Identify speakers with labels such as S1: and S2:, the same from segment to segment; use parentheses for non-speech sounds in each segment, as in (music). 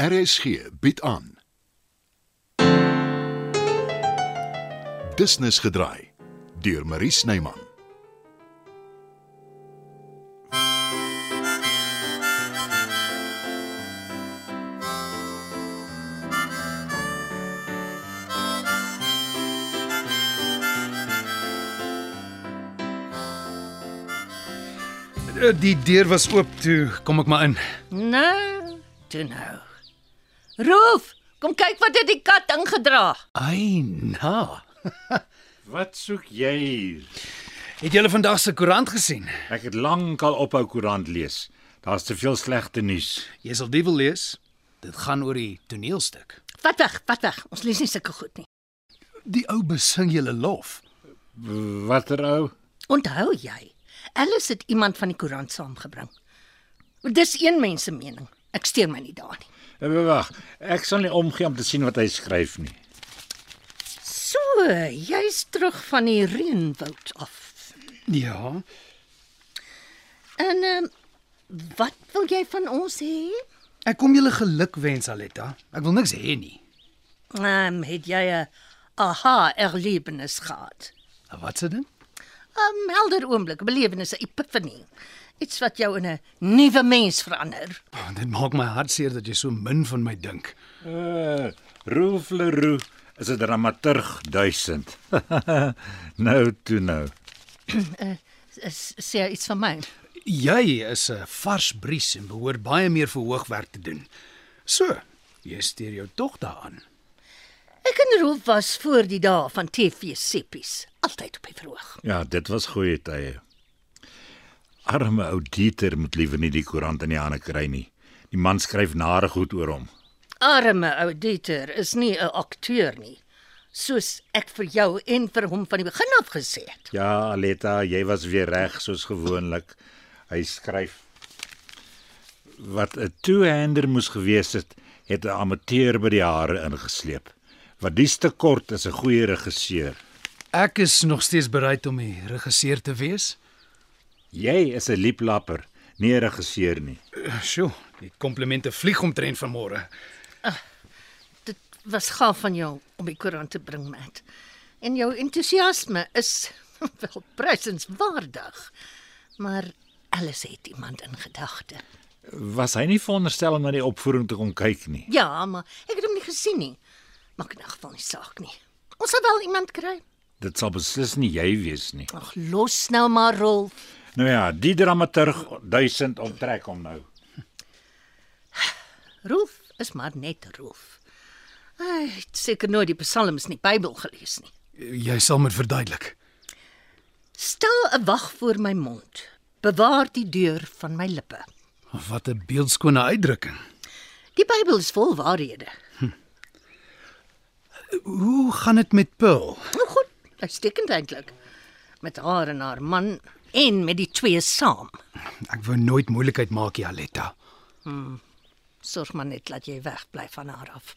S1: RSG bied aan. Business gedraai deur Marie Snyman.
S2: Eh, Die deur was oop toe, kom ek maar in.
S3: Nou, toe nou. Roof, kom kyk wat het die kat ingedra.
S2: Ai, na.
S4: Wat soek jy hier?
S2: Het julle vandag se koerant gesien?
S4: Ek het lank al ophou koerant lees. Daar's te veel slegte nuus.
S2: Jy sal die wil lees. Dit gaan oor die toneelstuk.
S3: Vat weg, vat weg. Ons lees nie sulke goed nie.
S2: Die ou besing julle lof.
S4: W- Watter ou?
S3: Onthou jy, Alice het iemand van die koerant saamgebring. Dis een mens se mening. Ek steur my nie daarin nie.
S4: Eh, Wag, ek sal nie omgee om te sien wat hy skryf nie.
S3: So, jy's terug van die reënwoud af.
S2: Ja.
S3: En ehm um, wat wil jy van ons hê?
S2: Ek kom julle geluk wens, Aletta. Ek wil niks hê nie.
S3: Ehm um, het jy 'n aha erlevenis gehad?
S2: Nou, Wat se ding?
S3: 'n Helder oomblik, 'n belewenis, 'n epifanie. Iets wat jou in 'n nuwe mens verander.
S2: Oh, dit maak my hart seer dat jy so min van my dink.
S4: Uh, Roof Leroux is 'n dramaturg 1000. (laughs) nou toe nou.
S3: is sê iets van my.
S2: Jy is 'n vars bries en behoort baie meer verhoogwerk te doen. So, jy steur jou tog daaraan.
S3: Ek en Rolf was voor die dae van TV seppies, altyd op die verhoog.
S4: Ja, dit was goeie tye. Arme ou Dieter moet liever nie die koerant in die hande kry nie. Die man skryf nare goed oor hom.
S3: Arme auditeur is nie 'n akteur nie, soos ek vir jou en vir hom van die begin af gesê het.
S4: Ja, Aletta, jy was weer reg soos gewoonlik. Hy skryf wat 'n two-hander moes gewees het, het 'n amateur by die hare ingesleep. Wat dies te kort is 'n goeie regisseur.
S2: Ek is nog steeds bereid om die regisseur te wees.
S4: Jy is 'n lieplapper, nie 'n regisseur nie.
S2: Sjoe, die komplimente vlieg omtrent vanmôre.
S3: Dit was gaaf van jou om die koerant te bring, Matt. En jou entoesiasme is (laughs) wel prysenswaardig. Maar alles het iemand in gedagte.
S4: Was hy nie veronderstel om na die opvoering te kom kyk nie?
S3: Ja, maar ek het hom nie gesien nie. Maak in elk geval nie saak nie. Ons sal wel iemand kry.
S4: Dit sal beslis nie jy wees nie.
S3: Ag, los nou maar Rolf.
S4: Nou ja, die dramaturg 1000 onttrek hom nou.
S3: Rolf is maar net Rolf. Hy het seker nooit die psalms in die Bybel gelees nie.
S2: Jy sal moet verduidelik.
S3: Stel 'n wag voor my mond. Bewaar die deur van my lippe.
S2: Wat 'n beeldskone uitdrukking.
S3: Die Bybel is vol waarhede.
S2: Hoe gaan dit met Pearl?
S3: Nou goed, uitstekend eintlik. Met haar en haar man en met die twee saam.
S2: Ek wou nooit moeilikheid maak, Jaletta.
S3: Sorg maar net dat jy wegbly van haar af.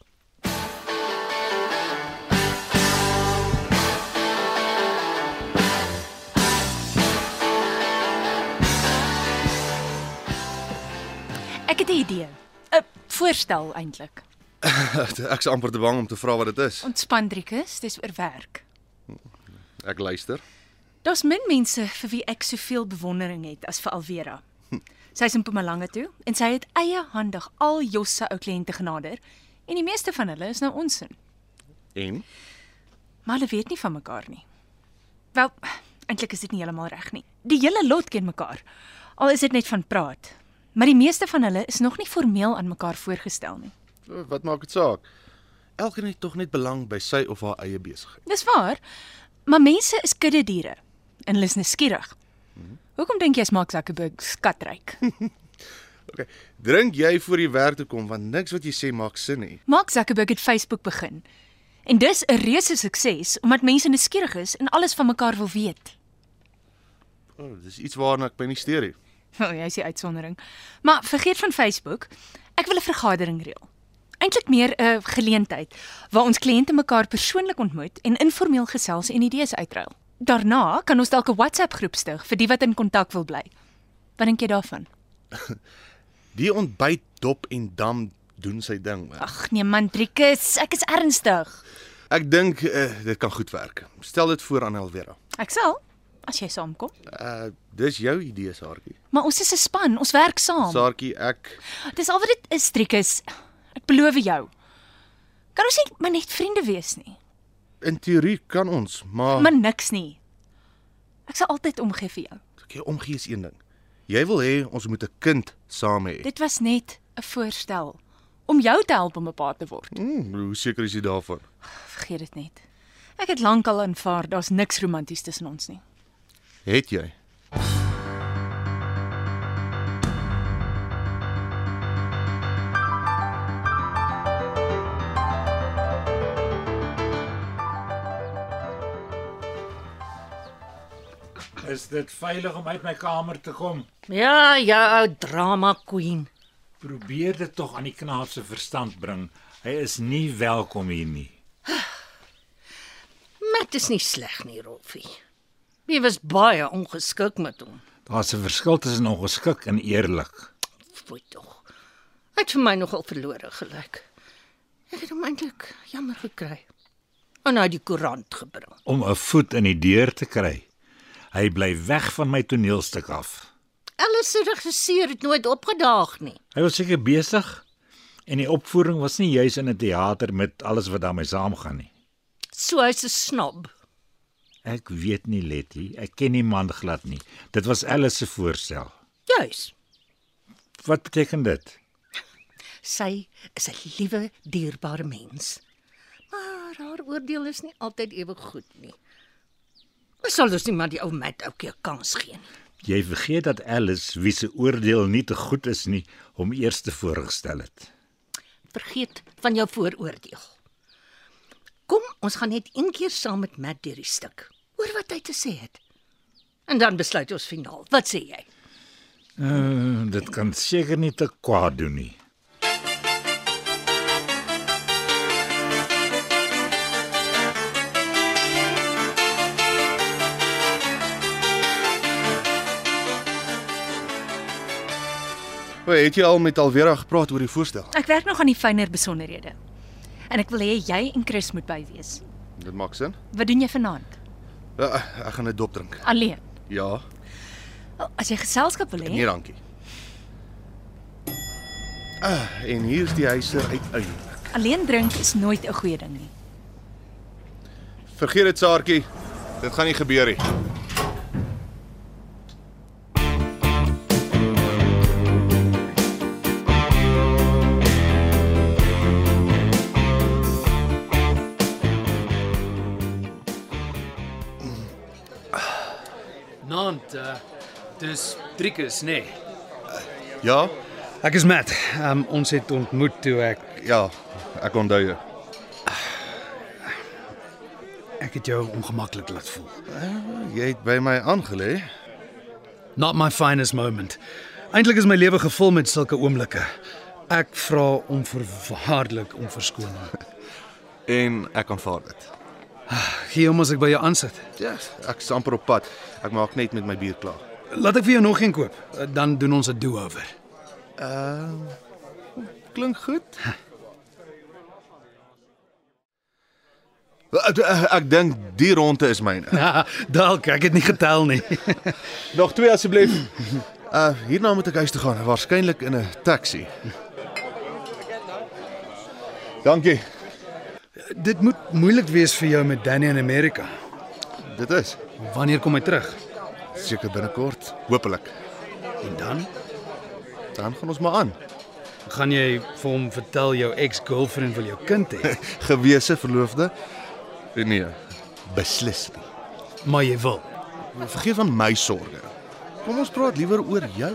S5: Ek het 'n idee. 'n Voorstel eintlik.
S6: Ek's amper te bang om te vra wat dit is.
S5: Ontspan Driekus, dis oor werk.
S6: Ek luister.
S5: Daar's min mense vir wie ek soveel bewondering het as vir Alvera. Sy is in Mpumalanga toe en sy het eie handig al Jos se ou kliënte genader en die meeste van hulle is nou ons in.
S6: En
S5: Maar hulle weet nie van mekaar nie. Wel, eintlik is dit nie heeltemal reg nie. Die hele lot ken mekaar. Al is dit net van praat. Maar die meeste van hulle is nog nie formeel aan mekaar voorgestel nie.
S6: wat maak dit saak? Elkeen het tog net belang by sy of haar eie besigheid.
S5: Dis waar. Maar mense is kudde diere en hulle is nuuskierig. Hoekom dink jy smaak Zuckerberg skatryk?
S6: Okay. Drink jy voor die werk toe kom want niks wat jy sê maak sin nie.
S5: Mark Zuckerberg het Facebook begin. En dis 'n reuse sukses omdat mense nuuskierig is en alles van mekaar wil weet. (laughs)
S6: Oh, dis iets waarna ek my nie steur nie.
S5: Wel, jy's Oh, ja, die uitsondering. Maar vergeet van Facebook. Ek wil 'n vergadering reël. Eintlik meer 'n geleentheid waar ons kliënte mekaar persoonlik ontmoet en informeel gesels en idees uitruil. Daarna kan ons dalk 'n WhatsApp groep stig vir die wat in kontak wil bly. Wat dink jy daarvan?
S6: Die ontbyt dop en dam doen sy ding. Man.
S5: Ag nee man, Driekus, ek is ernstig.
S6: Ek dink uh, dit kan goed werk. Stel dit voor aan Elvera.
S5: Ek sal as jy saamkom.
S6: Uh dis jou idee, Saartjie.
S5: Maar ons is 'n span, ons werk saam.
S6: Saartjie, ek
S5: Dis al wat dit is, Driekus. Ek beloof jou. Kan ons nie maar net vriende wees nie?
S6: in teorie kan ons, maar,
S5: Maar niks nie. Ek sal altyd omgee vir jou.
S6: okay, omgee is een ding. Jy wil hê ons moet 'n kind saam hê.
S5: Dit was net 'n voorstel om jou te help om 'n pa te word.
S6: Hmm, hoe seker is jy daarvan?
S5: Vergeet dit net. Ek het lankal aanvaar daar's niks romanties tussen ons nie.
S6: Het jy?
S4: Is dit veilig om uit my kamer te kom?
S3: Ja, ja, ou drama queen.
S4: Probeer dit tog aan die knaap se verstand bring. Hy is nie welkom hier nie.
S3: Mat is nie sleg nie, Rolfie. Jy was baie ongeskik met hom.
S4: Daar's 'n verskil tussen ongeskik en eerlik.
S3: Fooi tog. Hy het vir my nogal verlore gelyk. Ek het hom eintlik jammer gekry. En hy het die koerant gebring.
S4: om 'n voet in die deur te kry. Hy bly weg van my toneelstuk af.
S3: Alles se regisseur het nooit opgedaag nie.
S4: Hy was seker besig en die opvoering was nie juis in 'n teater met alles wat daarmee saamgaan nie.
S3: So hy's 'n snob.
S4: Ek weet nie Letty, ek ken die man glad nie. Dit was Alice se voorstel.
S3: Juis.
S4: Wat beteken dit?
S3: Sy is 'n liewe, dierbare mens. Maar haar oordeel is nie altyd ewe goed nie. Ons sal dus nie maar die ou Mat ook 'n kans gee nie.
S4: Jy vergeet dat Alice, wie se oordeel nie te goed is nie, hom eers te voorgestel het.
S3: Vergeet van jou vooroordeel. Kom, ons gaan net een keer saam met Mat deur die stuk. Hoor wat hy te sê het. En dan besluit ons finaal. Wat sê jy?
S4: Uh, dit kan seker nie te kwaad doen nie.
S6: Hoe het jy al met Alvera gepraat oor die voorstel?
S5: Ek werk nog aan die fynere besonderhede. En ek wil hê jy en Chris moet by wees.
S6: Dit maak sin.
S5: Wat doen jy vanaand?
S6: Uh, ek gaan 'n dop drink.
S5: Alleen.
S6: Ja,
S5: Wel, Oh, As jy geselskap wil
S6: nee
S5: hê,
S6: dankie. Ah, en hier's die huiser uiteindelik.
S5: alleen drink is nooit 'n goeie ding nie.
S6: Vergeet dit, Saartjie. Dit gaan nie gebeur nie.
S2: Nant, uh, dis Driekus, nê. Nee.
S6: Ja?
S2: Ek is Mat. Um, ons het ontmoet toe ek
S6: Ja, ek onthou jou.
S2: ek het jou ongemaklik laat voel.
S6: Jy het by my aangelê.
S2: Not my finest moment. Eintlik is my lewe gevul met sulke oomblikke. Ek vra onverwaarlik om verskoning.
S6: En ek aanvaar dit.
S2: Gee hom as ek by jou aansit.
S6: Ja, ek is amper op pad. Ek maak net met my bier klaar.
S2: Laat ek vir jou nog een koop, dan doen ons 'n do-over.
S6: Ehm uh, klink goed. Ek, eh, ek dink die ronde is myne.
S2: (laughs) Dalk, ek het nie getel nie.
S6: Nog twee asseblief. (clears throat) Uh hierna moet ek huis toe gaan, waarskynlik in 'n taxi. Dankie.
S2: (laughs) Dit moet moeilik wees vir jou met Danny in Amerika.
S6: Dit is
S2: Wanneer kom hy terug?
S6: seker binnekort, hopelik.
S2: En dan
S6: Dan gaan ons maar aan.
S2: gaan jy vir hom vertel jou ex-girlfriend wil jou kind (laughs) hê,
S6: Gewese verloofde? Nee, beslis nie.
S2: maar jy wil.
S6: Vergeet van my sorges. Kom ons praat liewer oor jou.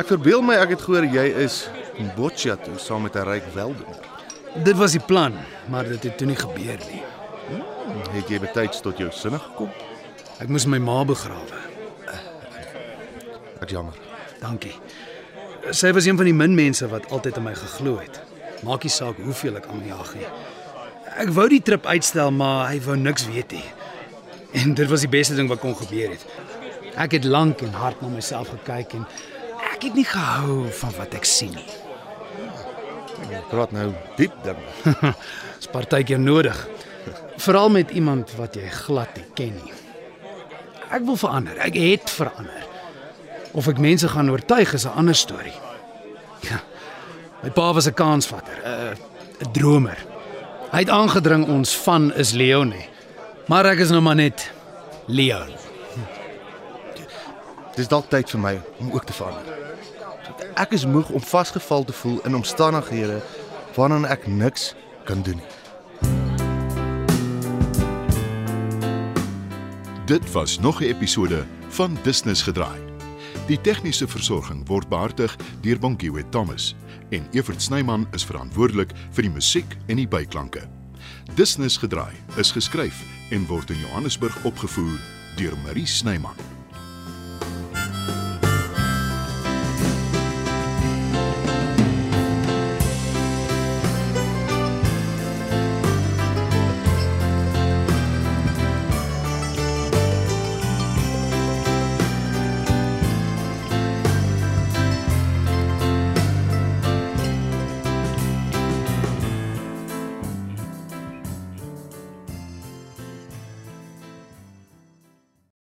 S6: Ek verbeel my ek het gehoor jy is in Boccia toe saam met 'n ryk weldoener.
S2: Dit was die plan, maar dit het toe nie gebeur nie.
S6: Het jy betyds tot jou sinne gekom?
S2: Ek moes my ma begrawe.
S6: Ek jammer.
S2: Dankie. Sy was een van die min mense wat altyd aan my geglo het. Maak nie saak hoeveel ek aan my jag nie. Ek wou die trip uitstel, maar hy wou niks weet nie. En dit was die beste ding wat kon gebeur het. Ek het lank en hard na myself gekyk en ek het nie gehou van wat ek sien nie.
S6: Praat nou diep dinge.
S2: Dis partykeer nodig. Veral met iemand wat jy glad nie ken nie. Ek wil verander. Ek het verander. Of ek mense gaan oortuig is 'n ander storie. Ja. My pa was 'n kansvatter, 'n 'n dromer. Hy het aangedring ons van is Leon nie. Maar ek is nou maar net Leon.
S6: Dis dalk tyd vir my om ook te verander. Ek is moeg om vasgeval te voel in omstandighede waaraan ek niks kan doen nie.
S1: Dit was nog 'n episode van Business gedraai. Die tegniese versorging word behartig deur Bonnie Witt Thomas en Evert Snyman is verantwoordelik vir die musiek en die byklanke. Business gedraai is geskryf en word in Johannesburg opgevoer deur Marie Snyman.